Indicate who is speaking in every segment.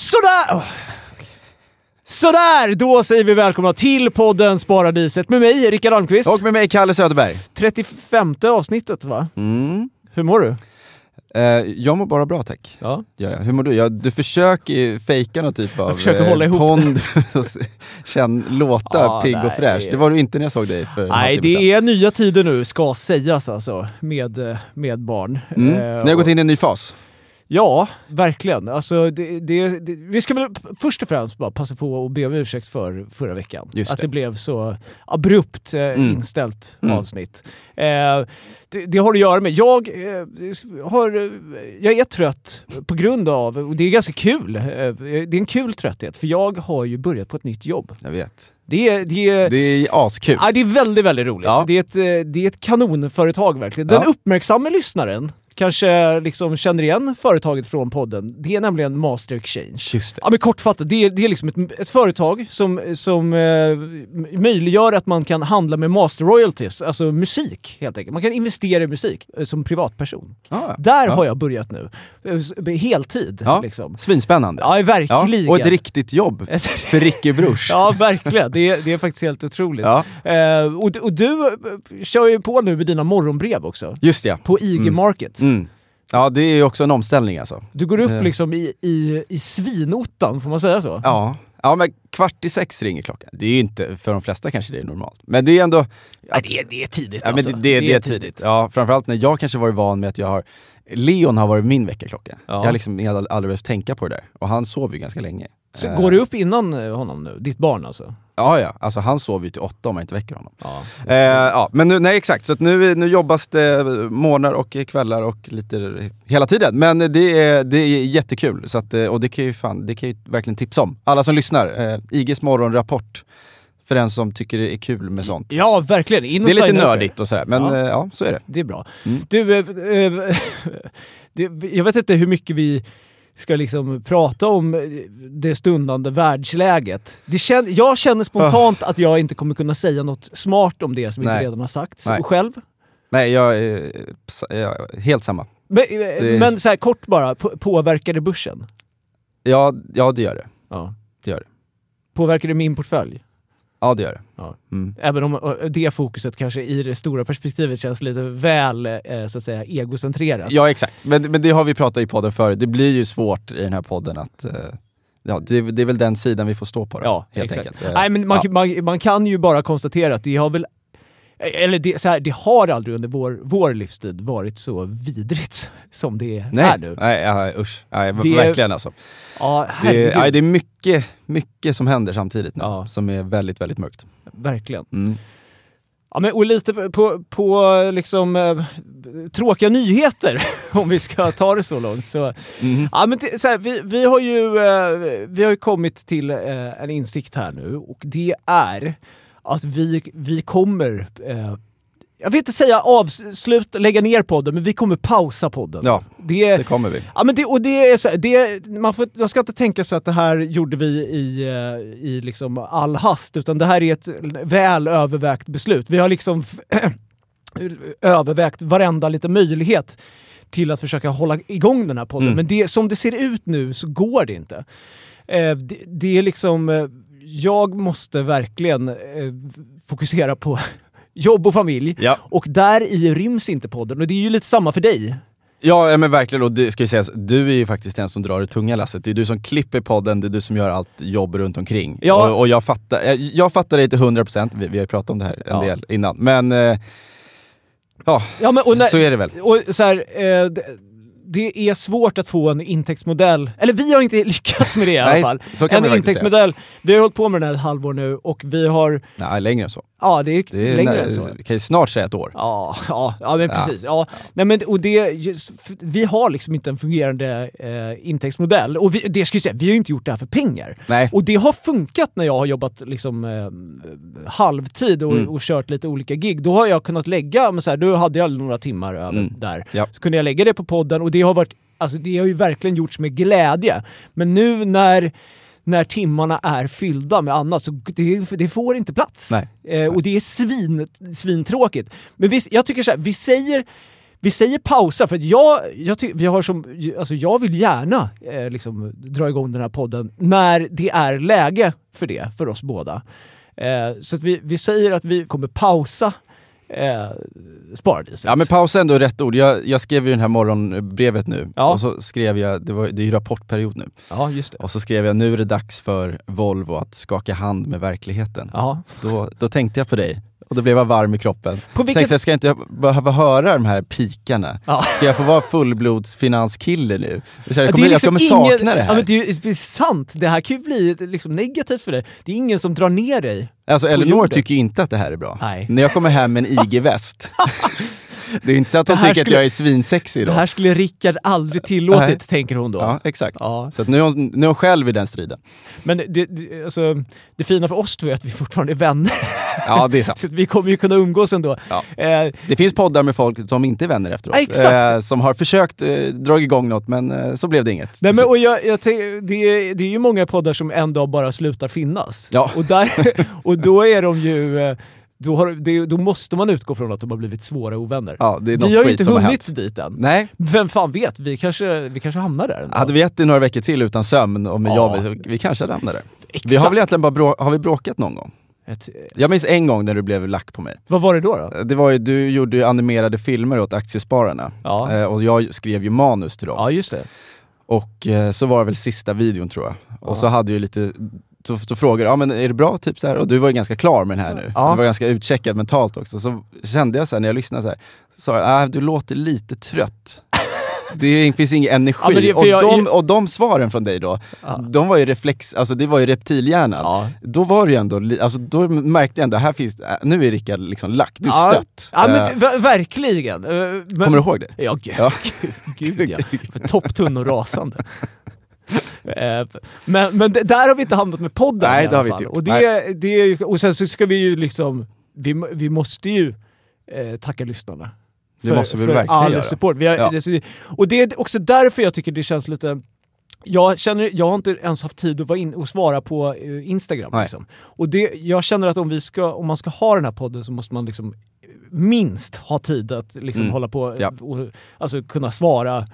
Speaker 1: Sådär! Oh. Sådär, då säger vi välkomna till podden Spara Diset med mig, Rickard Almqvist.
Speaker 2: Och med mig Kalle Söderberg.
Speaker 1: 35 avsnittet va?
Speaker 2: Mm.
Speaker 1: Hur mår du?
Speaker 2: Eh, jag mår bara bra tack.
Speaker 1: Ja.
Speaker 2: Ja, ja. Hur mår du? Ja, du försöker ju fejka någon typ av
Speaker 1: försöker hålla ihop
Speaker 2: och s- känn, låta
Speaker 1: Ja,
Speaker 2: pigg
Speaker 1: nej,
Speaker 2: och fräsch.
Speaker 1: det-
Speaker 2: Det var du inte när jag såg dig för en
Speaker 1: Nej,
Speaker 2: halvtimme
Speaker 1: det är nya tider nu ska sägas alltså, med, eh, med barn.
Speaker 2: sedan. Mm.
Speaker 1: Eh,
Speaker 2: Ni har
Speaker 1: och-
Speaker 2: gått in i en ny fas.
Speaker 1: Ja, verkligen. Alltså, det, det, det, vi ska väl först och främst bara passa på att be om ursäkt för förra veckan.
Speaker 2: Just
Speaker 1: Att det
Speaker 2: det.
Speaker 1: blev så abrupt eh,
Speaker 2: Mm.
Speaker 1: inställt
Speaker 2: Mm.
Speaker 1: avsnitt. Eh, det, det har att göra med... Jag, eh, har, eh, jag är trött på grund av, och det är ganska kul, eh, det är en kul trötthet, för jag har ju börjat på ett nytt jobb.
Speaker 2: Jag vet.
Speaker 1: Det är, det är,
Speaker 2: Det är askul.
Speaker 1: Ja, det är väldigt, väldigt roligt.
Speaker 2: Ja.
Speaker 1: Det, är ett, eh, det är ett kanonföretag verkligen. Den
Speaker 2: Ja.
Speaker 1: uppmärksamme lyssnaren kanske liksom känner igen företaget från podden. Det är nämligen Master Exchange.
Speaker 2: Just det.
Speaker 1: Ja, men kortfattat, det är, det är liksom ett, ett företag som, som eh, möjliggör att man kan handla med master royalties, alltså musik helt enkelt. Man kan investera i musik eh, som privatperson.
Speaker 2: Ja.
Speaker 1: Där
Speaker 2: Ja.
Speaker 1: har jag börjat nu. Eh, s- Heltid
Speaker 2: Ja.
Speaker 1: liksom.
Speaker 2: Svinspännande.
Speaker 1: Ja, verkligen.
Speaker 2: Och ett riktigt jobb för Ricke Bruch.
Speaker 1: Ja, verkligen. Det är, det är faktiskt helt otroligt.
Speaker 2: Ja,
Speaker 1: Eh, och, d- och du eh, kör ju på nu med dina morgonbrev också.
Speaker 2: Just det.
Speaker 1: På IG Markets.
Speaker 2: Mm. Ja, det är ju också en omställning alltså.
Speaker 1: Du går upp
Speaker 2: Eh.
Speaker 1: liksom i, i, i svinottan, får man säga så?
Speaker 2: Ja. ja, men kvart i sex ringer klockan. Det är ju inte, för de flesta kanske det är normalt. Men det är ändå...
Speaker 1: Nej, det, är, det är tidigt
Speaker 2: Ja, men
Speaker 1: alltså.
Speaker 2: det, det, det är tidigt. Ja, framförallt när jag kanske varit van med att jag har... Leon har varit min väckarklocka.
Speaker 1: Ja.
Speaker 2: Jag har liksom ald- aldrig behövt tänka på det där. Och han sover ju ganska länge.
Speaker 1: Så
Speaker 2: Eh,
Speaker 1: går du upp innan eh, honom nu? Ditt barn alltså?
Speaker 2: Ja, ja. Alltså han sover ju till åtta om man inte väcker honom.
Speaker 1: Ja.
Speaker 2: Eh, ja, men nu, nej exakt. Så att nu, nu jobbas det morgnar och kvällar och lite hela tiden. Men det är, det är jättekul. Så att, eh, och det kan, ju fan, det kan ju verkligen tipsa om. Alla som lyssnar, eh, IGs morgonrapport. För den som tycker det är kul med sånt.
Speaker 1: ja, verkligen. In och
Speaker 2: Det är lite
Speaker 1: signa upp er.
Speaker 2: nördigt och sådär, men
Speaker 1: Ja.
Speaker 2: ja, ja så är det.
Speaker 1: Det är bra.
Speaker 2: Mm.
Speaker 1: Du, eh, eh, det, jag vet inte hur mycket vi ska liksom prata om eh, det stundande världsläget. Det kän, jag känner spontant att jag inte kommer kunna säga något smart om det som inte
Speaker 2: Ah. Nej.
Speaker 1: redan har sagts
Speaker 2: Nej.
Speaker 1: själv.
Speaker 2: Nej, jag är ps- jag är helt samma.
Speaker 1: Men, eh,
Speaker 2: Det-
Speaker 1: men så här kort bara, på- påverkar det börsen?
Speaker 2: Ja, ja det gör det.
Speaker 1: Ja.
Speaker 2: Det gör det.
Speaker 1: Påverkar det min portfölj?
Speaker 2: Ja, det gör det.
Speaker 1: Ja.
Speaker 2: Mm.
Speaker 1: Även om eh, det fokuset kanske i det stora perspektivet känns lite väl eh, så att säga egocentrerat.
Speaker 2: ja exakt. Men, men det har vi pratat i podden förut. Det blir ju svårt i den här podden att... eh, Ja, det, det är väl den sidan vi får stå på då,
Speaker 1: Ja,
Speaker 2: helt
Speaker 1: exakt.
Speaker 2: enkelt. Eh,
Speaker 1: Nej, men man,
Speaker 2: ja.
Speaker 1: man, man kan ju bara konstatera att det har väl eh, eller det, så här, det har aldrig under vår, vår livstid varit så vidrigt som det är
Speaker 2: Nej,
Speaker 1: nu.
Speaker 2: nej, ja, usch. Nej, v-
Speaker 1: Det-
Speaker 2: verkligen alltså.
Speaker 1: Ja,
Speaker 2: Det,
Speaker 1: herregud.
Speaker 2: nej, det är mycket, mycket som händer samtidigt nu,
Speaker 1: Ja.
Speaker 2: som är väldigt, väldigt mörkt.
Speaker 1: Verkligen.
Speaker 2: Mm.
Speaker 1: Ja, men, och lite på, på liksom, eh, tråkiga nyheter, om vi ska ta det så långt. Så,
Speaker 2: Mhm.
Speaker 1: ja, men det, så här, vi, vi, har ju, eh, vi har ju kommit till eh, en insikt här nu och det är att vi, vi kommer, eh, jag vill inte säga avsluta, lägga ner podden, men vi kommer pausa podden.
Speaker 2: Ja,
Speaker 1: Det,
Speaker 2: det kommer vi.
Speaker 1: Ja, men det, och det är så, här, det, man, får, man ska inte tänka sig att det här gjorde vi i, eh, i liksom all hast, utan det här är ett väl övervägt beslut. Vi har liksom f- övervägt varenda liten möjlighet till att försöka hålla igång den här podden.
Speaker 2: Mm.
Speaker 1: Men det, som det ser ut nu så går det inte. Eh, det, det är liksom, eh, jag måste verkligen eh, fokusera på jobb och familj.
Speaker 2: Ja.
Speaker 1: Och där i ryms inte podden. Och det är ju lite samma för dig.
Speaker 2: Ja, ja, men verkligen. Och det ska ju sägas, du är ju faktiskt den som drar det tunga lasset. Det är du som klipper podden, det är du som gör allt jobb runt omkring.
Speaker 1: Ja.
Speaker 2: Och, och jag, fattar, jag, jag fattar dig till 100%, vi, vi har ju pratat om det här en
Speaker 1: Ja.
Speaker 2: del innan. Men eh, ja,
Speaker 1: Ja, men, och när-
Speaker 2: så är det väl.
Speaker 1: Och så här, eh, det, det är svårt att få en intäktsmodell, eller vi har inte lyckats med det i alla
Speaker 2: Nej,
Speaker 1: fall.
Speaker 2: så kan man
Speaker 1: En
Speaker 2: faktiskt
Speaker 1: intäktsmodell, vi har hållit på med den här ett halvår nu och vi har,
Speaker 2: Nej, längre än så.
Speaker 1: ja det är,
Speaker 2: Det är
Speaker 1: längre
Speaker 2: nä-
Speaker 1: än så.
Speaker 2: kan ju snart säga ett år.
Speaker 1: Ja, ja, ja men
Speaker 2: Ja.
Speaker 1: precis. Ja. Nej, men, och det, just- f- vi har liksom inte en fungerande eh, intäktsmodell. Och vi, det ska jag säga, vi har ju inte gjort det här för pengar.
Speaker 2: Nej.
Speaker 1: Och det har funkat när jag har jobbat liksom, eh, halvtid och,
Speaker 2: Mm.
Speaker 1: och kört lite olika gig. Då har jag kunnat lägga, men så här, då hade jag några timmar över
Speaker 2: Mm.
Speaker 1: där.
Speaker 2: Ja.
Speaker 1: Så kunde jag lägga det på podden och det har, varit, alltså, det har ju verkligen gjorts med glädje. Men nu när när timmarna är fyllda med annat så det, det får inte plats.
Speaker 2: Nej.
Speaker 1: Eh, och det är svin, svintråkigt. Men vi, jag tycker så här, vi säger vi säger pausa för att jag, jag, ty- vi har som, alltså jag vill gärna eh, liksom, dra igång den här podden när det är läge för det, för oss båda. Eh, så att vi, vi säger att vi kommer pausa eh, sparadiset.
Speaker 2: Ja men pausa är ändå rätt ord. Jag, jag skrev ju den här morgonbrevet nu
Speaker 1: Ja.
Speaker 2: och så skrev jag, det, var, det är ju rapportperiod nu,
Speaker 1: ja just det.
Speaker 2: och så skrev jag nu är det dags för Volvo att skaka hand med verkligheten.
Speaker 1: Ja.
Speaker 2: Då, då tänkte jag på dig och då blev jag varm i kroppen.
Speaker 1: På
Speaker 2: Tänkte
Speaker 1: vilket...
Speaker 2: jag, ska jag inte behöva höra de här pikarna?
Speaker 1: Ja.
Speaker 2: Ska jag få vara fullblodsfinanskille nu? Jag,
Speaker 1: Ja,
Speaker 2: känner, jag
Speaker 1: det
Speaker 2: kommer,
Speaker 1: är liksom
Speaker 2: jag kommer
Speaker 1: ingen-
Speaker 2: sakna det här.
Speaker 1: Ja, men det, är, ju- det är sant, det här kan ju bli liksom negativt för dig. Det är ingen som drar ner dig.
Speaker 2: Alltså Eleanor
Speaker 1: jorden.
Speaker 2: tycker ju inte att det här är bra.
Speaker 1: Nej.
Speaker 2: När jag kommer hem med en IG-väst. det är inte så att
Speaker 1: Det
Speaker 2: hon
Speaker 1: här
Speaker 2: tycker att
Speaker 1: skulle-
Speaker 2: jag är svinsexig
Speaker 1: Det
Speaker 2: då.
Speaker 1: här skulle Rickard aldrig tillåtit,
Speaker 2: Nej.
Speaker 1: tänker hon då.
Speaker 2: Ja, exakt.
Speaker 1: Ja.
Speaker 2: Så att nu, är hon, nu är hon själv i den striden.
Speaker 1: Men det, det, alltså, det fina för oss tror jag är att vi fortfarande är vänner,
Speaker 2: Ja, det är sant.
Speaker 1: så att vi kommer ju kunna umgås ändå.
Speaker 2: Ja.
Speaker 1: Eh,
Speaker 2: Det finns poddar med folk som inte är vänner efteråt.
Speaker 1: Ja, exakt.
Speaker 2: Eh, som har försökt eh, dra igång något, men eh, så blev det inget.
Speaker 1: nej, men, och jag, jag tänk- det, är- det är ju många poddar som en dag bara slutar finnas.
Speaker 2: Ja.
Speaker 1: Och, där, och då är de ju... eh, Då, har, det, då måste man utgå från att de har blivit svåra ovänner.
Speaker 2: ja, det är något
Speaker 1: vi har ju
Speaker 2: skit
Speaker 1: inte
Speaker 2: som har hänt.
Speaker 1: hunnit dit än.
Speaker 2: Nej,
Speaker 1: Vem fan vet, vi kanske, vi kanske hamnar där. en dag.
Speaker 2: hade vi gett det några veckor till utan sömn och med
Speaker 1: Ja.
Speaker 2: jobbet, så vi kanske ramlade.
Speaker 1: Exakt.
Speaker 2: Vi har väl egentligen bara brå- har vi bråkat någon gång?
Speaker 1: Ett,
Speaker 2: Jag minns en gång när du blev lack på mig.
Speaker 1: vad var det då? då?
Speaker 2: Det var ju, du gjorde ju animerade filmer åt Aktiespararna
Speaker 1: Ja.
Speaker 2: Eh, och jag skrev ju manus till dem.
Speaker 1: Ja, just det.
Speaker 2: Och eh, så var det väl sista videon tror jag. Och så hade ju lite, så, så frågade jag, ja men är det bra? Typ så här. Och du var ju ganska klar med den här nu.
Speaker 1: Ja.
Speaker 2: Du var ganska utcheckad mentalt också. Så kände jag så här när jag lyssnade så här, sa jag, "Ah, du låter lite trött. Det är- finns ingen energi.
Speaker 1: Ja, men det- för
Speaker 2: och,
Speaker 1: jag-
Speaker 2: de, och de svaren från dig då,
Speaker 1: Ja.
Speaker 2: de var ju reflex, alltså det var ju reptilhjärnan.
Speaker 1: Ja.
Speaker 2: Då var det ju ändå, li- alltså då märkte jag ändå, här finns, äh, nu är Rickard liksom lack, du är
Speaker 1: Ja.
Speaker 2: stött.
Speaker 1: Ja, men
Speaker 2: Eh,
Speaker 1: det- ver- verkligen. Eh, Men,
Speaker 2: Kommer du ihåg det?
Speaker 1: Ja, gud,
Speaker 2: Ja.
Speaker 1: gud ja. För Topptunn och rasande. Eh, men men d- där har vi inte hamnat med podden
Speaker 2: Nej,
Speaker 1: i
Speaker 2: det har
Speaker 1: alla
Speaker 2: vi
Speaker 1: fall.
Speaker 2: inte gjort.
Speaker 1: och, det, det är, ju- och sen så ska vi ju liksom, vi, må- vi måste ju eh, tacka lyssnarna.
Speaker 2: Det måste vi
Speaker 1: för
Speaker 2: verkligen
Speaker 1: all
Speaker 2: göra.
Speaker 1: support. Vi har,
Speaker 2: Ja.
Speaker 1: det- och det är också därför jag tycker det känns lite... Jag, känner, jag har inte ens haft tid att vara in och svara på eh, Instagram.
Speaker 2: Nej.
Speaker 1: Liksom. Och det, jag känner att om, vi ska, om man ska ha den här podden så måste man liksom minst ha tid att liksom
Speaker 2: Mm.
Speaker 1: hålla på
Speaker 2: Ja.
Speaker 1: och alltså, kunna svara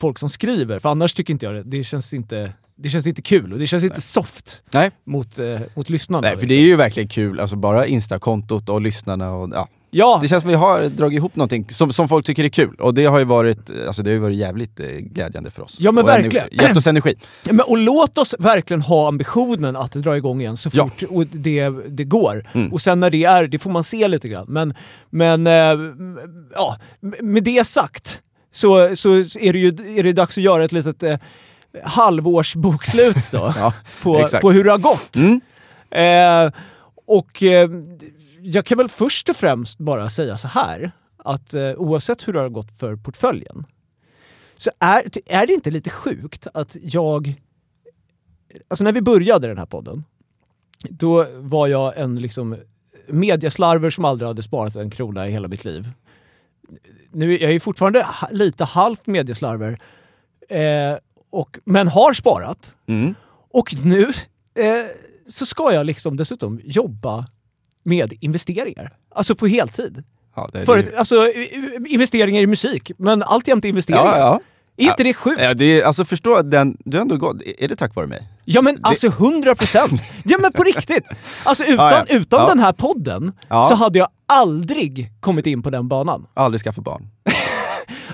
Speaker 1: folk som skriver. För annars tycker inte jag det. Det känns inte, det känns inte kul och det känns inte soft
Speaker 2: Nej.
Speaker 1: mot, eh, mot lyssnarna.
Speaker 2: Nej, för det är ju verkligen kul, alltså bara instakontot och lyssnarna och ja.
Speaker 1: ja,
Speaker 2: Det känns som vi har dragit ihop någonting som, som folk tycker är kul och det har ju varit, eh, alltså det har ju varit jävligt eh, glädjande för oss.
Speaker 1: Ja, men
Speaker 2: och energi-
Speaker 1: verkligen.
Speaker 2: Gett oss energi.
Speaker 1: Men, och låt oss verkligen ha ambitionen att dra igång igen så
Speaker 2: Ja.
Speaker 1: fort och det, det går.
Speaker 2: Mm.
Speaker 1: Och sen när det är, det får man se lite grann. Men, men eh, m- ja, m- med det sagt så, så är det ju är det dags att göra ett litet eh, halvårsbokslut då.
Speaker 2: Ja,
Speaker 1: på,
Speaker 2: exakt.
Speaker 1: på hur det har gått.
Speaker 2: Mm.
Speaker 1: Eh, och eh, jag kan väl först och främst bara säga så här, att eh, oavsett hur det har gått för portföljen, så är, är det inte lite sjukt att jag... Alltså när vi började den här podden, då var jag en liksom mediaslarver som aldrig hade sparat en krona i hela mitt liv. Nu, jag är fortfarande ha- lite halvt mediaslarver, eh, och, men har sparat.
Speaker 2: Mm.
Speaker 1: Och nu eh, så ska jag liksom dessutom jobba med investeringar. Alltså på heltid.
Speaker 2: Ja, det,
Speaker 1: För,
Speaker 2: det,
Speaker 1: att- alltså i- i- investeringar i musik, men alltjämt investeringar.
Speaker 2: ja, ja.
Speaker 1: Är inte det sjukt?
Speaker 2: ja det, är- alltså förstå, att den, du har ändå gått, är det tack vare mig?
Speaker 1: Ja men alltså 100 procent! Ja men på riktigt! Alltså utan,
Speaker 2: Ja, ja.
Speaker 1: utan
Speaker 2: Ja.
Speaker 1: den här podden
Speaker 2: Ja.
Speaker 1: så hade jag aldrig kommit in på den banan.
Speaker 2: Aldrig skaffa barn.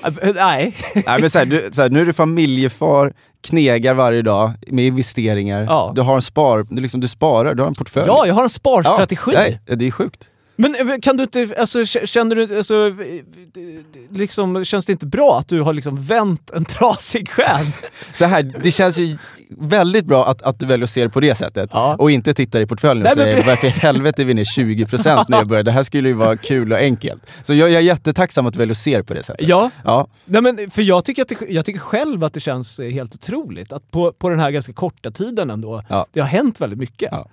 Speaker 1: Äh, äh, nej.
Speaker 2: Nej men så här, du, så här, nu är du familjefar, knegar varje dag med investeringar,
Speaker 1: Ja.
Speaker 2: du har en spar, du, liksom, du sparar, du har en portfölj.
Speaker 1: Ja, jag har en sparstrategi.
Speaker 2: Ja, nej, det är sjukt.
Speaker 1: Men eh, kan du inte, alltså k- känner du, alltså, eh, liksom, känns det inte bra att du har liksom vänt en trasig själ?
Speaker 2: Så här, det känns ju väldigt bra att, att du väljer att se det på det sättet
Speaker 1: Ja.
Speaker 2: och inte tittar i portföljen och
Speaker 1: Nej, men
Speaker 2: säger
Speaker 1: pre-
Speaker 2: varför i helvete är vi ner 20% när jag började? Det här skulle ju vara kul och enkelt. Så jag, jag är jättetacksam att du väljer att se det på det sättet.
Speaker 1: Ja,
Speaker 2: Ja,
Speaker 1: Nej, men för jag tycker, att det, jag tycker själv att det känns eh, helt otroligt att på, på den här ganska korta tiden ändå,
Speaker 2: Ja.
Speaker 1: det har hänt väldigt mycket.
Speaker 2: Ja.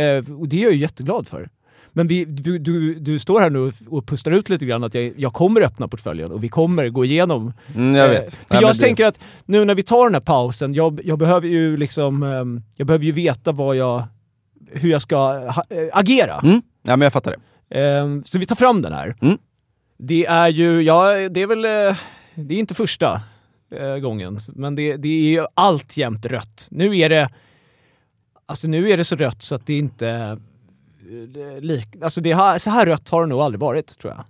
Speaker 1: Eh, och det är jag ju jätteglad för. Men vi, du, du, du står här nu och- och pustar ut lite grann att jag, jag kommer öppna portföljen och vi kommer gå igenom.
Speaker 2: mm, jag
Speaker 1: eh,
Speaker 2: vet.
Speaker 1: För
Speaker 2: Nej, men
Speaker 1: jag
Speaker 2: det-
Speaker 1: tänker att nu när vi tar den här pausen, jag, jag behöver ju liksom, ehm, jag behöver ju veta vad jag, hur jag ska ha, eh, agera.
Speaker 2: Mm, ja, men jag fattar det.
Speaker 1: Ehm, så vi tar fram den här.
Speaker 2: Mm.
Speaker 1: Det är ju, ja det är väl, eh, det är inte första eh, gången, men det, det är ju alltjämt rött. Nu är det, alltså nu är det så rött så att det inte, eh, det- lik, alltså det har, så här rött har det nog aldrig varit tror jag.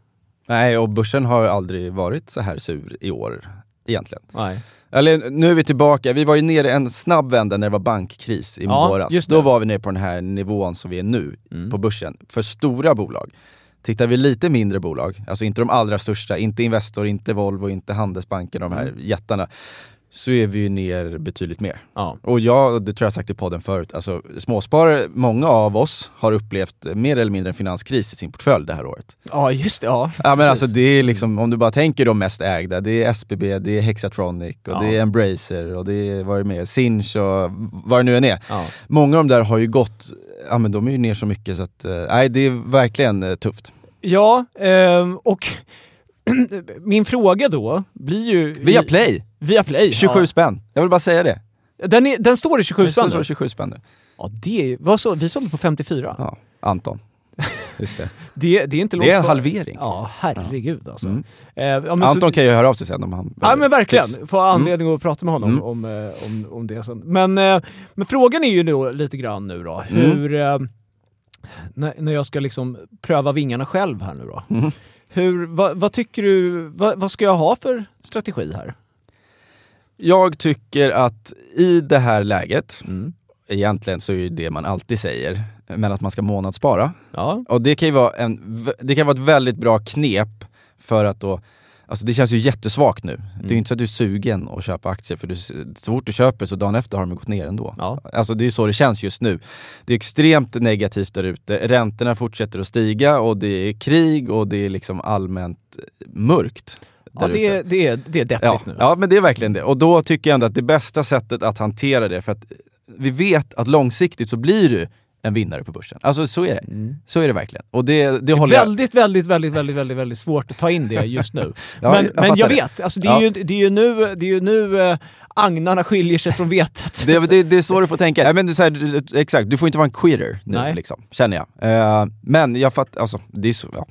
Speaker 2: Nej, och börsen har aldrig varit så här sur i år egentligen.
Speaker 1: Nej.
Speaker 2: Eller nu är vi tillbaka, vi var ju nere en snabb vända när det var bankkris i
Speaker 1: Ja,
Speaker 2: våras.
Speaker 1: just det.
Speaker 2: Då var vi nere på den här nivån som vi är nu
Speaker 1: Mm.
Speaker 2: på börsen för stora bolag. Tittar vi lite mindre bolag, alltså inte de allra största, inte Investor, inte Volvo, inte Handelsbanken, de här
Speaker 1: Mm.
Speaker 2: jättarna, så är vi ju ner betydligt mer.
Speaker 1: Ja.
Speaker 2: Och jag, det tror jag sagt i podden förut, alltså småsparare, många av oss har upplevt mer eller mindre en finanskris i sin portfölj det här året.
Speaker 1: ja, just det. Ja,
Speaker 2: Ja men
Speaker 1: precis.
Speaker 2: alltså det är liksom, om du bara tänker de mest ägda, det är SBB, det är Hexatronic och
Speaker 1: Ja.
Speaker 2: det är Embracer och det är, vad är det mer, Sinch och vad det nu än är.
Speaker 1: Ja.
Speaker 2: Många av de där har ju gått, ja men de är ju ner så mycket så att, eh, nej det är verkligen eh, tufft.
Speaker 1: Ja, ehm, och min fråga då blir ju...
Speaker 2: Via Play,
Speaker 1: Via Play.
Speaker 2: 27 spänn. Jag vill bara säga det.
Speaker 1: Ja. Den, är, den står i
Speaker 2: Det
Speaker 1: 27
Speaker 2: står
Speaker 1: spänn
Speaker 2: så
Speaker 1: nu.
Speaker 2: 27 spänn nu.
Speaker 1: Ja, det är ju... vad så- Vi sålde på 54.
Speaker 2: Ja, Anton. Just det.
Speaker 1: Det, det är inte långt
Speaker 2: Det är en
Speaker 1: kvar.
Speaker 2: halvering.
Speaker 1: Ja, herregud alltså.
Speaker 2: Mm.
Speaker 1: Eh, ja, men
Speaker 2: Anton
Speaker 1: så,
Speaker 2: kan ju höra av sig sen om han
Speaker 1: ja men verkligen,
Speaker 2: tips.
Speaker 1: få anledning att prata med honom
Speaker 2: Mm.
Speaker 1: om, eh, om, om det sen. Men, eh, men frågan är ju då lite grann nu då,
Speaker 2: Mm.
Speaker 1: hur... Eh, när, när jag ska liksom pröva vingarna själv här nu då.
Speaker 2: Mm.
Speaker 1: Hur, vad, vad tycker du, vad, vad ska jag ha för strategi här?
Speaker 2: Jag tycker att i det här läget, egentligen så är ju det man alltid säger, men att man ska månadsspara.
Speaker 1: Ja.
Speaker 2: Och det kan ju vara, en, v- det kan vara ett väldigt bra knep för att då, alltså det känns ju jättesvagt nu. Det är
Speaker 1: Mm.
Speaker 2: ju inte så att du är sugen att köpa aktier för du, s- så fort du köper så dagen efter har de gått ner ändå.
Speaker 1: Ja.
Speaker 2: Alltså det är ju så det känns just nu. Det är extremt negativt där ute, räntorna fortsätter att stiga och det är krig och det är liksom allmänt eh, mörkt.
Speaker 1: Ja,
Speaker 2: där
Speaker 1: det,
Speaker 2: ute.
Speaker 1: är, det, är, det är
Speaker 2: Ja,
Speaker 1: deppigt nu.
Speaker 2: ja, men det är verkligen det. Och då tycker jag ändå att det bästa sättet att hantera det, för att vi vet att långsiktigt så blir du en vinnare på börsen. Alltså så är det.
Speaker 1: Mm.
Speaker 2: Så är det verkligen. Och det, det håller jag...
Speaker 1: Väldigt, väldigt, väldigt, väldigt, väldigt, väldigt svårt att ta in det just nu.
Speaker 2: Ja,
Speaker 1: men
Speaker 2: jag
Speaker 1: jag, men
Speaker 2: fattar
Speaker 1: jag
Speaker 2: det.
Speaker 1: vet, alltså det, är
Speaker 2: Ja.
Speaker 1: ju, det är ju nu, det är ju nu eh, agnarna skiljer sig från vetet.
Speaker 2: Det, det, det är så du får tänka. Nej, men det är så här, du- exakt, du får inte vara en quitter nu,
Speaker 1: Nej.
Speaker 2: liksom, känner jag. Eh, men jag fattar, alltså, det är så, ja.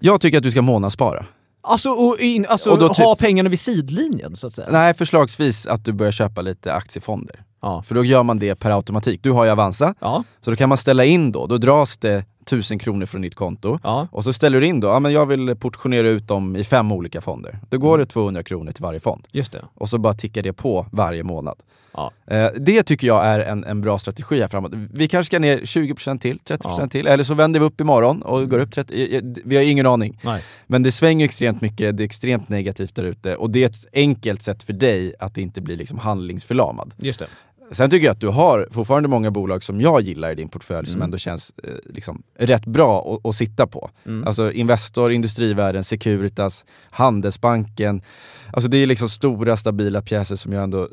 Speaker 2: Jag tycker att du ska månadsspara.
Speaker 1: Alltså, och in, alltså
Speaker 2: Och då typ-
Speaker 1: ha pengarna vid sidlinjen så att säga.
Speaker 2: Nej, förslagsvis att du börjar köpa lite aktiefonder.
Speaker 1: Ja.
Speaker 2: För då gör man det per automatik. Du har ju Avanza,
Speaker 1: Ja,
Speaker 2: så då kan man ställa in då. Då dras det 1000 kronor från ditt konto.
Speaker 1: ja,
Speaker 2: Och så ställer du in då, ja, men jag vill portionera ut dem i fem olika fonder. Då går det 200 kronor till varje fond.
Speaker 1: just det.
Speaker 2: Och så bara tickar det på varje månad.
Speaker 1: Ja.
Speaker 2: Eh, det tycker jag är en, en bra strategi här framåt. Vi kanske ska ner 20% till, 30%
Speaker 1: Ja.
Speaker 2: till, eller så vänder vi upp imorgon och går upp 30, eh, eh, vi har ingen aning.
Speaker 1: Nej.
Speaker 2: Men det svänger extremt mycket, det är extremt negativt där ute och det är ett enkelt sätt för dig att inte bli liksom handlingsförlamad.
Speaker 1: Just det.
Speaker 2: Sen tycker jag att du har fortfarande många bolag som jag gillar i din portfölj som
Speaker 1: Mm.
Speaker 2: ändå känns eh, liksom, rätt bra att, att sitta på.
Speaker 1: Mm.
Speaker 2: Alltså Investor, Industrivärden, Securitas, Handelsbanken. Alltså det är liksom stora stabila pjäser som jag ändå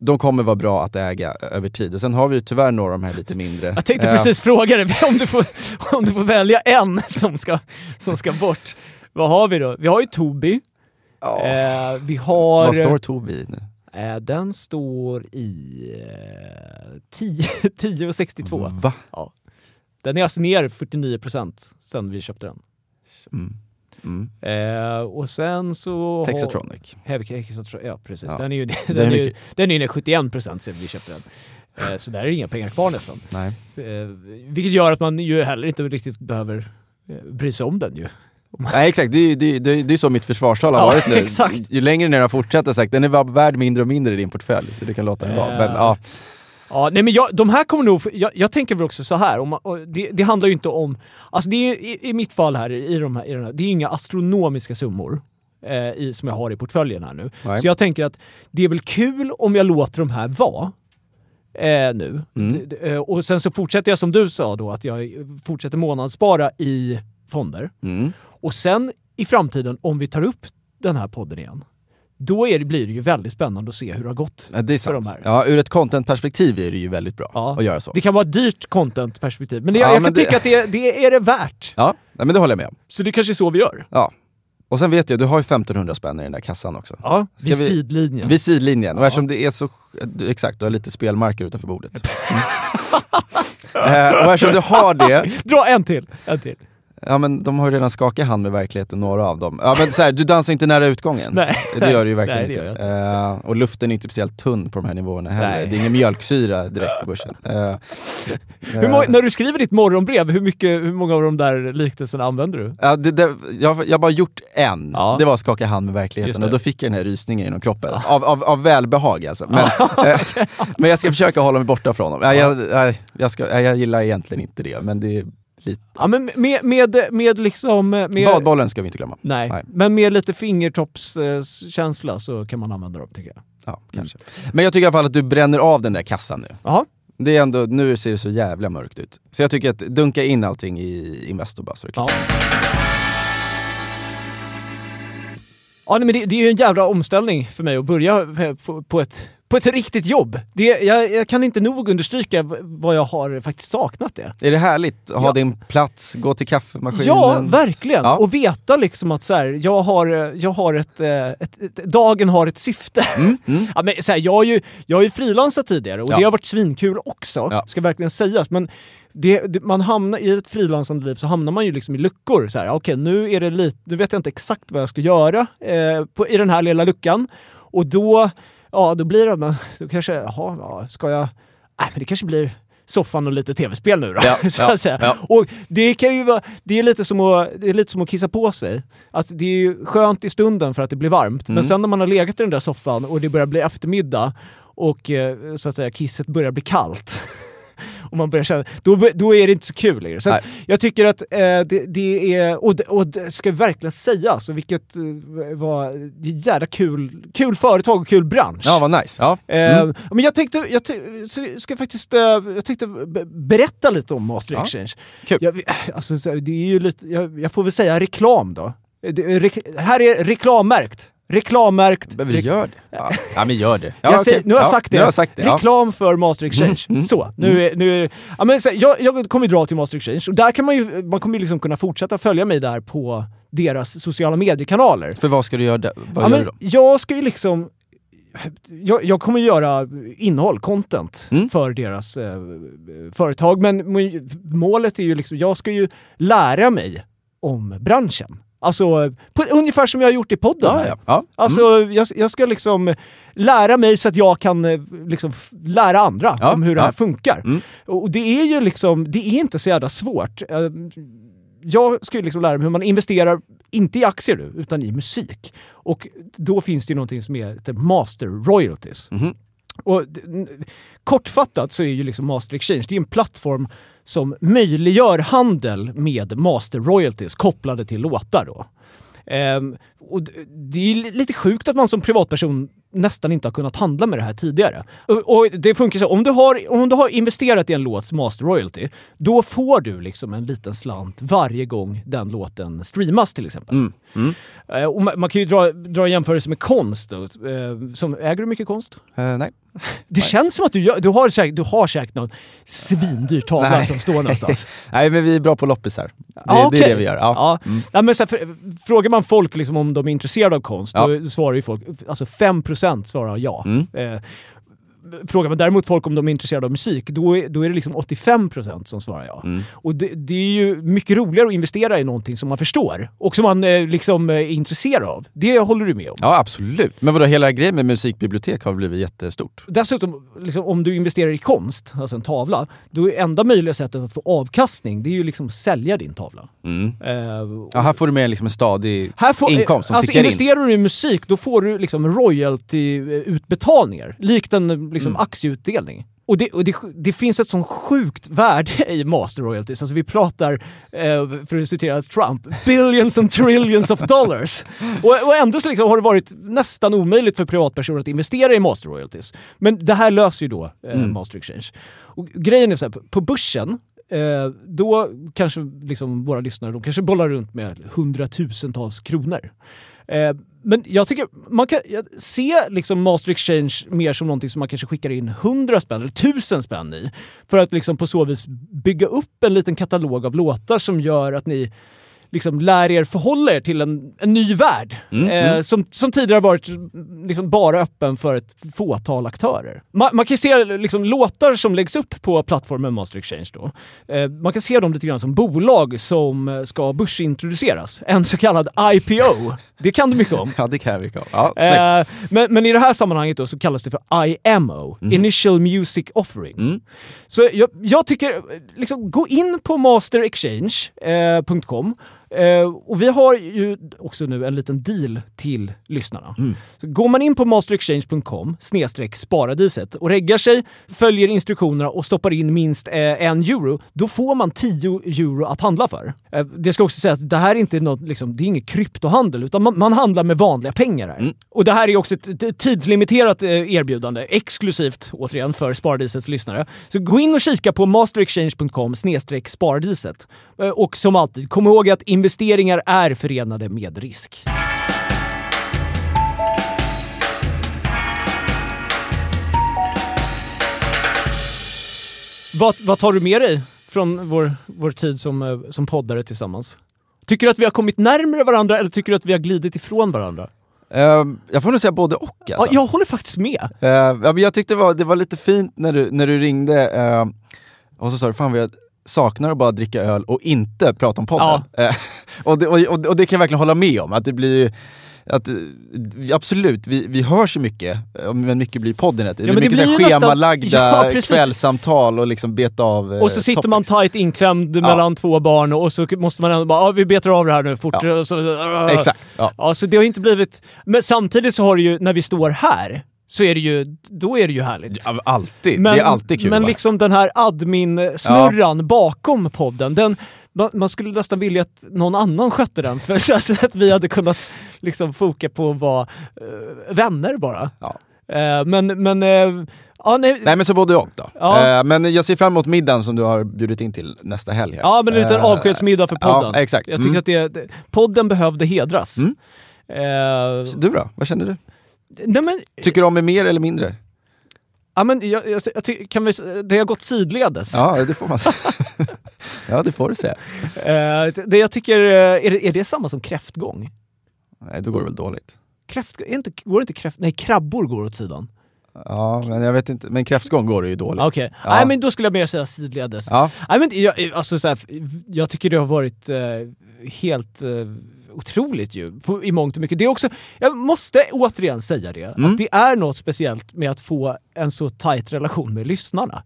Speaker 2: de kommer vara bra att äga ö- över tid. Och sen har vi ju tyvärr några av de här lite mindre.
Speaker 1: jag tänkte
Speaker 2: Eh,
Speaker 1: precis fråga dig om du, får, om du får välja en som ska, som ska bort. Vad har vi då? Vi har ju Tobi.
Speaker 2: ja,
Speaker 1: Eh, vi har...
Speaker 2: Vad står Tobi i nu?
Speaker 1: Eh, den står i eh, 10 10,62.
Speaker 2: Va?
Speaker 1: Den är alltså ner 49% sen vi köpte den.
Speaker 2: Mm. Mm.
Speaker 1: Eh, och sen så... har-
Speaker 2: Texatronic.
Speaker 1: Heavy Hexatron. Ja, precis.
Speaker 2: Ja.
Speaker 1: Den är ju den
Speaker 2: är
Speaker 1: är ju,
Speaker 2: mycket.
Speaker 1: den är ju ner 71% sen vi köpte den. Eh, så där är det inga pengar kvar nästan.
Speaker 2: Nej.
Speaker 1: Eh, vilket gör att man ju heller inte riktigt behöver eh, bry sig om den ju.
Speaker 2: Nej exakt, det är, ju- det, är- det, är- det är så mitt försvarstal har
Speaker 1: Ja,
Speaker 2: varit nu.
Speaker 1: exakt.
Speaker 2: Ju längre ner jag fortsätter sagt, den är bara värd mindre och mindre i din portfölj. Så du kan låta den vara.
Speaker 1: Eh.
Speaker 2: Men, ja.
Speaker 1: Ja, nej men jag, de här kommer nog... Jag, jag tänker väl också så här, om man, och det, det handlar ju inte om... Alltså det är, i, i mitt fall här, i de här, i den här det är inga astronomiska summor eh, i, som jag har i portföljen här nu.
Speaker 2: Nej.
Speaker 1: Så jag tänker att det är väl kul om jag låter de här vara. Eh, nu. D, d, eh, och sen så fortsätter jag som du sa då, att jag fortsätter månadsspara i fonder.
Speaker 2: Mm.
Speaker 1: Och sen i framtiden, om vi tar upp den här podden igen, då är det, blir det ju väldigt spännande att se hur det har gått
Speaker 2: Ja, det är
Speaker 1: för de
Speaker 2: sant.
Speaker 1: här.
Speaker 2: Ja, ur ett contentperspektiv är det ju väldigt bra
Speaker 1: Ja.
Speaker 2: att göra så.
Speaker 1: Det kan vara ett dyrt content-perspektiv, men det,
Speaker 2: Ja,
Speaker 1: jag
Speaker 2: men
Speaker 1: kan
Speaker 2: det-
Speaker 1: tycka att det, det är det värt.
Speaker 2: Ja, nej, men det håller jag med om.
Speaker 1: Så det kanske är så vi gör.
Speaker 2: Ja. Och sen vet jag, du har ju 1500 spänn i den där kassan också.
Speaker 1: Ja,
Speaker 2: Ska
Speaker 1: vid
Speaker 2: vi-
Speaker 1: sidlinjen.
Speaker 2: Vid sidlinjen. Och eftersom det är så... eh, du- Exakt, du har lite spelmarker utanför bordet. Mm. eh, och eftersom du har det...
Speaker 1: Dra en till! En till.
Speaker 2: Ja men de har ju redan skakat hand med verkligheten, några av dem. Ja men så här, du dansar inte nära utgången.
Speaker 1: Nej.
Speaker 2: Det gör du ju verkligen
Speaker 1: Nej, det
Speaker 2: inte.
Speaker 1: gör
Speaker 2: Eh, och luften är inte speciellt tunn på de här nivåerna heller.
Speaker 1: Nej.
Speaker 2: Det är ingen mjölksyra direkt på börsen. Eh,
Speaker 1: Hur
Speaker 2: eh,
Speaker 1: må- när du skriver ditt morgonbrev, hur, mycket, hur många av de där liknelserna använder du?
Speaker 2: Ja, det, det, jag, jag har bara gjort en.
Speaker 1: Ja.
Speaker 2: Det var att skaka hand med
Speaker 1: Just
Speaker 2: verkligheten
Speaker 1: det.
Speaker 2: och då fick jag den här rysningen genom kroppen. Av, av, av välbehag alltså. Men, eh, men jag ska försöka hålla mig borta från dem. Nej, jag, nej, jag, ska, nej, jag gillar egentligen inte det, men det är lite...
Speaker 1: Ja, men med, med, med liksom... Med,
Speaker 2: Badbollen ska vi inte glömma.
Speaker 1: Nej.
Speaker 2: Nej.
Speaker 1: men med lite fingertoppskänsla så kan man använda dem tycker jag.
Speaker 2: Ja, kanske. Men jag tycker i alla fall att du bränner av den där kassan nu.
Speaker 1: Jaha.
Speaker 2: Det är ändå, nu ser det så jävla mörkt ut. Så jag tycker att dunka in allting i Investor bara så det är klart.
Speaker 1: Ja. Ja, nej, men det, det är ju en jävla omställning för mig att börja eh, på, på, ett, på ett riktigt jobb. Det, jag, jag kan inte nog understryka v- vad jag har faktiskt saknat det.
Speaker 2: Är det härligt att ha
Speaker 1: Ja.
Speaker 2: din plats, gå till kaffemaskinen?
Speaker 1: Ja, verkligen!
Speaker 2: Ja.
Speaker 1: Och veta liksom att så här, jag har, eh, jag har ett, eh, ett, ett... Dagen har ett syfte. Ja, men, så här, jag har ju, jag har ju frilansat tidigare och
Speaker 2: Mm, Ja.
Speaker 1: det har varit svinkul också,
Speaker 2: Ja.
Speaker 1: ska verkligen sägas. Men det, det, man hamnar, i ett frilansande liv så hamnar man ju liksom i luckor. Så här, okej, nu, är det lite, nu vet jag inte exakt vad jag ska göra eh, på, i den här lilla luckan. Och då, ja, då blir det, men, då kanske, jaha, ja, ska jag... Nej, men det kanske blir soffan och lite tv-spel nu då.
Speaker 2: Ja,
Speaker 1: så
Speaker 2: ja,
Speaker 1: att säga.
Speaker 2: ja.
Speaker 1: Och det kan ju vara, det är, lite som att, det är lite som att kissa på sig. Att det är ju skönt i stunden för att det blir varmt, men
Speaker 2: Mm.
Speaker 1: sen när man har legat i den där soffan och det börjar bli eftermiddag och eh, så att säga kisset börjar bli kallt. Och man börjar känna, då, bör- då är det inte så kul längre. Så att jag tycker att eh, det, det är, och, det- och det ska verkligen sägas, och vilket eh, var det är jävla kul, kul företag och kul bransch.
Speaker 2: Ja, vad nice. Ja.
Speaker 1: Eh, Men jag tänkte, jag ty- så ska faktiskt, eh, jag tänkte be- berätta lite om Master
Speaker 2: Ja.
Speaker 1: Exchange.
Speaker 2: Kul.
Speaker 1: Jag, alltså, så här, det är ju lite, jag, jag får väl säga reklam då. Det, är rek- här är reklammärkt. Reklammärkt.
Speaker 2: Men vi
Speaker 1: Rek-
Speaker 2: gör det. Ja, ja men gör det. Ja,
Speaker 1: jag säger,
Speaker 2: okej.
Speaker 1: nu har jag
Speaker 2: ja,
Speaker 1: sagt det.
Speaker 2: Nu har jag sagt det. Ja. Mm,
Speaker 1: Reklam för Master Exchange. Så, nu är, nu är, ja, men, så, här, jag, jag kommer ju dra till Master Exchange och där kan man ju, man kommer ju liksom kunna fortsätta följa mig där på deras sociala mediekanaler.
Speaker 2: För vad ska du göra där? Vad
Speaker 1: Ja,
Speaker 2: gör
Speaker 1: men
Speaker 2: du då?
Speaker 1: jag ska ju liksom... Jag, jag kommer göra innehåll, content,
Speaker 2: Mm.
Speaker 1: för deras eh, företag. Men mo- målet är ju liksom, jag ska ju lära mig om branschen. Alltså, på, ungefär som jag har gjort i podden.
Speaker 2: Ja,
Speaker 1: här.
Speaker 2: ja. ja.
Speaker 1: Alltså,
Speaker 2: Mm.
Speaker 1: jag, jag ska liksom lära mig så att jag kan eh, liksom, f- lära andra
Speaker 2: Ja,
Speaker 1: om hur det
Speaker 2: ja.
Speaker 1: här funkar.
Speaker 2: Mm.
Speaker 1: Och och det är ju liksom, det är inte så jävla svårt. Eh, Jag ska ju liksom lära mig hur man investerar, inte i aktier nu, utan i musik. Och då finns det ju någonting som heter master royalties.
Speaker 2: Mhm.
Speaker 1: Och d- n- kortfattat så är ju liksom Master Exchange, det är en plattform som möjliggör handel med master royalties kopplade till låtar då. Ehm, och d- det är ju li- lite sjukt att man som privatperson nästan inte har kunnat handla med det här tidigare. Och, och det funkar så, om du, har, om du har investerat i en låts master royalty, då får du liksom en liten slant varje gång den låten streamas till exempel.
Speaker 2: Mm. Mm.
Speaker 1: Eh, och man, man kan ju dra, dra en jämförelse med konst då. Eh, som, äger du mycket konst?
Speaker 2: Eh, nej.
Speaker 1: Det känns som att du, gör, du, har, säkert, du har säkert någon svindyr tavla
Speaker 2: Nej.
Speaker 1: som står någonstans.
Speaker 2: nej, men vi är bra på loppis här. Det,
Speaker 1: Ja,
Speaker 2: det
Speaker 1: okej.
Speaker 2: är det vi gör. Ja. Mm.
Speaker 1: Ja. Ja, men så här, för, frågar man folk liksom om de är intresserade av konst,
Speaker 2: Ja.
Speaker 1: då svarar ju folk, alltså 5% svarar ja.
Speaker 2: Mm.
Speaker 1: Eh, frågar man däremot folk om de är intresserade av musik, då är, då är det liksom 85% som svarar ja.
Speaker 2: Mm.
Speaker 1: Och det, det är ju mycket roligare att investera i någonting som man förstår och som man eh, liksom eh, är intresserad av. Det håller du med om.
Speaker 2: ja, absolut. Men vadå, hela grejen med musikbibliotek har blivit jättestort.
Speaker 1: Dessutom, liksom, om du investerar i konst, alltså en tavla, då är enda möjliga sättet att få avkastning, det är ju liksom sälja din tavla. Eh, och-
Speaker 2: Ja, här får du med liksom en stadig
Speaker 1: Här får,
Speaker 2: inkomst som
Speaker 1: alltså
Speaker 2: tickar in.
Speaker 1: investerar du i musik, då får du liksom royalty-utbetalningar. Likt en liksom, aktieutdelning. Och, det, och det, det finns ett sånt sjukt värde i master royalties. Alltså vi pratar, eh, för att citera Trump, billions and trillions of dollars. Och, och ändå så liksom har det varit nästan omöjligt för privatpersoner att investera i master royalties. Men det här löser ju då eh, master exchange. Och grejen är så här, på- på börsen, eh, då kanske liksom våra lyssnare de kanske bollar runt med hundratusentals kronor. Eh, men jag tycker man kan jag, se liksom Master Exchange mer som någonting som man kanske skickar in hundra spänn eller tusen spänn i. För att liksom på så vis bygga upp en liten katalog av låtar som gör att ni liksom, lär er förhålla er till en, en ny värld. eh, Som, som tidigare har varit liksom, bara öppen för ett fåtal aktörer. Man, man kan ju se liksom, låtar som läggs upp på plattformen Master Exchange då. Eh, man kan se dem lite grann som bolag som eh, ska börsintroduceras. En så kallad IPO. Det kan du mycket om.
Speaker 2: Ja, det kan vi ha. Ja, snyggt.
Speaker 1: Eh, men, men i det här sammanhanget då så kallas det för IMO, Initial Music Offering. Så jag, jag tycker, eh, liksom, gå in på masterexchange.com eh, och vi har ju också nu en liten deal till lyssnarna. Så går man in på masterexchange.com snedstreck sparadiset och reggar sig, följer instruktionerna och stoppar in minst eh, en euro, då får man 10 euro att handla för. Eh, det ska också sägas att det här är inte något, liksom, det är ingen kryptohandel utan man, man handlar med vanliga pengar här. Och det här är också ett, ett tidslimiterat eh, erbjudande, exklusivt återigen för Spardisets lyssnare. Så gå in och kika på masterexchange.com snedstreck spardiset. Eh, Och som alltid, kom ihåg att investeringar är förenade med risk. Vad, vad tar du med dig från vår, vår tid som, eh, som poddare tillsammans? Tycker du att vi har kommit närmare varandra eller tycker du att vi har glidit ifrån varandra?
Speaker 2: Ehm, jag får nog säga både och alltså.
Speaker 1: Ja, jag håller faktiskt med.
Speaker 2: Eh, ja, men jag tyckte det var, det var lite fint när du, när du ringde eh, och så sa du fan vad jag saknar att bara dricka öl och inte prata om podden. Eh, och, det, och, och, och det kan jag verkligen hålla med om. Att det blir ju- att, eh, absolut, vi, vi hörs ju mycket, eh, men mycket blir podden. Det, det
Speaker 1: men det
Speaker 2: blir mycket så här
Speaker 1: blir ju nästan-
Speaker 2: schemalagda
Speaker 1: Ja, precis.
Speaker 2: kvällssamtal och liksom beta av eh,
Speaker 1: Och så sitter man
Speaker 2: topics.
Speaker 1: tajt inklämd mellan två barn och så måste man ändå bara, ja vi betar av det här nu fort.
Speaker 2: Ja.
Speaker 1: Och så, "Ah."
Speaker 2: Exakt. Ja.
Speaker 1: Ja, så det har inte blivit... Men samtidigt så har det ju, när vi står här, så är det ju, då är det ju härligt.
Speaker 2: Ja, Alltid, det är alltid kul.
Speaker 1: Men
Speaker 2: va?
Speaker 1: liksom den här admin-snurran bakom podden, den, man, man skulle nästan vilja att någon annan skötte den för så att- så att vi hade kunnat liksom foka på att vara eh, vänner bara.
Speaker 2: Ja.
Speaker 1: Eh, men, men... eh, ja, nej,
Speaker 2: Nej men så både och då.
Speaker 1: Ja.
Speaker 2: Eh, men jag ser fram emot middagen som du har bjudit in till nästa helg. här.
Speaker 1: Ja, men en liten
Speaker 2: Eh,
Speaker 1: avskedsmiddag för podden.
Speaker 2: ja, exakt.
Speaker 1: Jag tycker
Speaker 2: Mm.
Speaker 1: att det, det, podden behövde hedras.
Speaker 2: Mm.
Speaker 1: Eh,
Speaker 2: Du då? Vad känner du?
Speaker 1: nej men,
Speaker 2: Tycker du om mig mer eller mindre?
Speaker 1: ja, men jag, jag, jag, tycker- kan vi, s- det har gått sidledes.
Speaker 2: Ja, det får man säga. ja, det får du säga.
Speaker 1: Eh, det, det jag tycker, eh, är det, är det samma som kräftgång?
Speaker 2: Nej, då går det väl dåligt.
Speaker 1: Kräft, är inte, går inte kräft, nej, krabbor går åt sidan.
Speaker 2: Ja, men jag vet inte. Men kräftgång går det ju dåligt.
Speaker 1: Okej,
Speaker 2: Ja.
Speaker 1: nej men då skulle jag mer säga sidledes.
Speaker 2: Ja.
Speaker 1: Nej, men jag, alltså, så här, jag tycker det har varit eh, helt eh, otroligt ju, på, i mångt och mycket. Det är också, jag måste återigen säga det,
Speaker 2: Mm.
Speaker 1: att det är något speciellt med att få en så tajt relation med lyssnarna.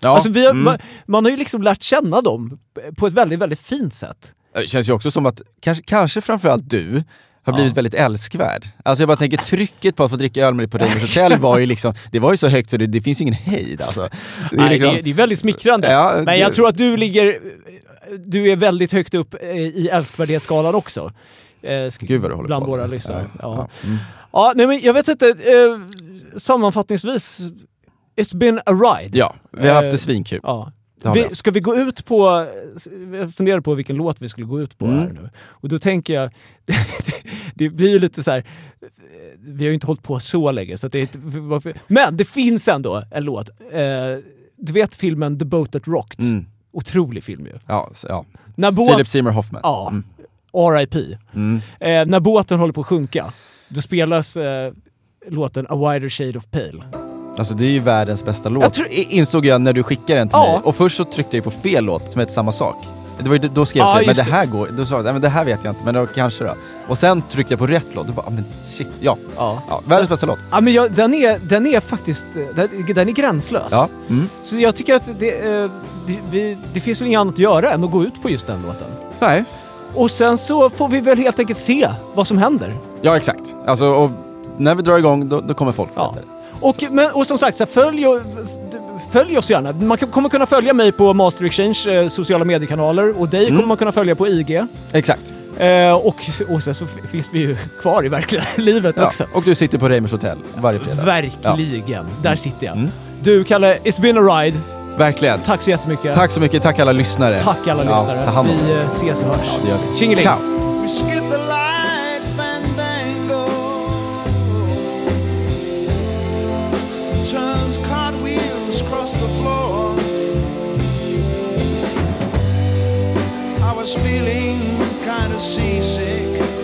Speaker 2: ja.
Speaker 1: alltså, vi har,
Speaker 2: mm.
Speaker 1: man, man har ju liksom lärt känna dem på ett väldigt, väldigt fint sätt.
Speaker 2: Det känns ju också som att kanske, kanske framförallt du har blivit väldigt älskvärd. Alltså jag bara tänker trycket på att få dricka öl med dig på Reidars hotell var ju liksom, det var ju så högt så det, det finns ju ingen hejd alltså. Det är
Speaker 1: Nej,
Speaker 2: liksom-
Speaker 1: det, är, det är väldigt smickrande.
Speaker 2: Ja,
Speaker 1: men
Speaker 2: det-
Speaker 1: jag tror att du ligger... Du är väldigt högt upp eh, i älskvärdhetsskalan också. Eh, sk-
Speaker 2: Gud vad du håller
Speaker 1: bland
Speaker 2: på
Speaker 1: våra
Speaker 2: med.
Speaker 1: lyssnare. Ja. Ja.
Speaker 2: ja. Mm.
Speaker 1: nej, men jag vet inte. Eh, sammanfattningsvis, it's been a ride.
Speaker 2: ja, vi har haft
Speaker 1: Eh,
Speaker 2: det svinkul.
Speaker 1: Ja.
Speaker 2: Det har vi
Speaker 1: Vi, ska vi gå ut på... Jag funderar på vilken låt vi skulle gå ut på
Speaker 2: Mm.
Speaker 1: här nu. Och då tänker jag... Det, blir ju lite så här... Vi har ju inte hållit på så länge, så att det är inte, varför- Men det finns ändå en låt. Eh, du vet filmen The Boat That Rocked?
Speaker 2: Mm.
Speaker 1: Otrolig film ju.
Speaker 2: Ja, så, ja.
Speaker 1: När båt...
Speaker 2: Philip Seymour Hoffman.
Speaker 1: Ja.
Speaker 2: Mm.
Speaker 1: R.I.P.
Speaker 2: Mm.
Speaker 1: Eh, när båten håller på att sjunka, då spelas eh, låten A Wider Shade of Pale.
Speaker 2: Alltså det är ju världens bästa låt.
Speaker 1: Jag tror-
Speaker 2: I- Insåg jag när du skickade den till
Speaker 1: Ja.
Speaker 2: mig. Och först så tryckte jag på fel låt som heter samma sak. Det var ju, då skrev
Speaker 1: Ja,
Speaker 2: jag till dig,
Speaker 1: just
Speaker 2: men det här går Då sa jag, nej men det här vet jag inte, men då kanske då. Och sen tryckte jag på rätt låt och bara, ah, men shit, ja.
Speaker 1: Ja.
Speaker 2: ja världens bästa låt.
Speaker 1: Ja, men jag, den, är, den är faktiskt... Den, den är gränslös.
Speaker 2: Ja. Mm.
Speaker 1: Så jag tycker att det, eh, det, vi, det finns väl inget annat att göra än att gå ut på just den låten.
Speaker 2: Nej.
Speaker 1: Och sen så får vi väl helt enkelt se vad som händer.
Speaker 2: Ja, exakt. Alltså, och när vi drar igång, då, då kommer folk
Speaker 1: Ja.
Speaker 2: veta det.
Speaker 1: Och, men, och som sagt, så här, följ, och, följ oss gärna. Man kan- kommer kunna följa mig på Master Exchange eh, sociala mediekanaler och
Speaker 2: Mm.
Speaker 1: dig kommer man kunna följa på IG.
Speaker 2: Exakt.
Speaker 1: Eh, och, och sen så f- finns vi ju kvar i verkliga livet
Speaker 2: Ja.
Speaker 1: också.
Speaker 2: Och du sitter på Reimers hotell varje fredag.
Speaker 1: Verkligen. Där sitter jag.
Speaker 2: Mm.
Speaker 1: Du Kalle, it's been a ride.
Speaker 2: Verkligen.
Speaker 1: Tack så jättemycket.
Speaker 2: Tack så mycket, tack alla lyssnare.
Speaker 1: Tack alla lyssnare.
Speaker 2: Ja, ta hand om
Speaker 1: vi
Speaker 2: er.
Speaker 1: eh, ses och hörs.
Speaker 2: Ja, det gör vi.
Speaker 1: Tjingeling.
Speaker 2: Ciao.
Speaker 3: We skip the light fandango. Turns cartwheels across the floor. I was feeling kind of seasick.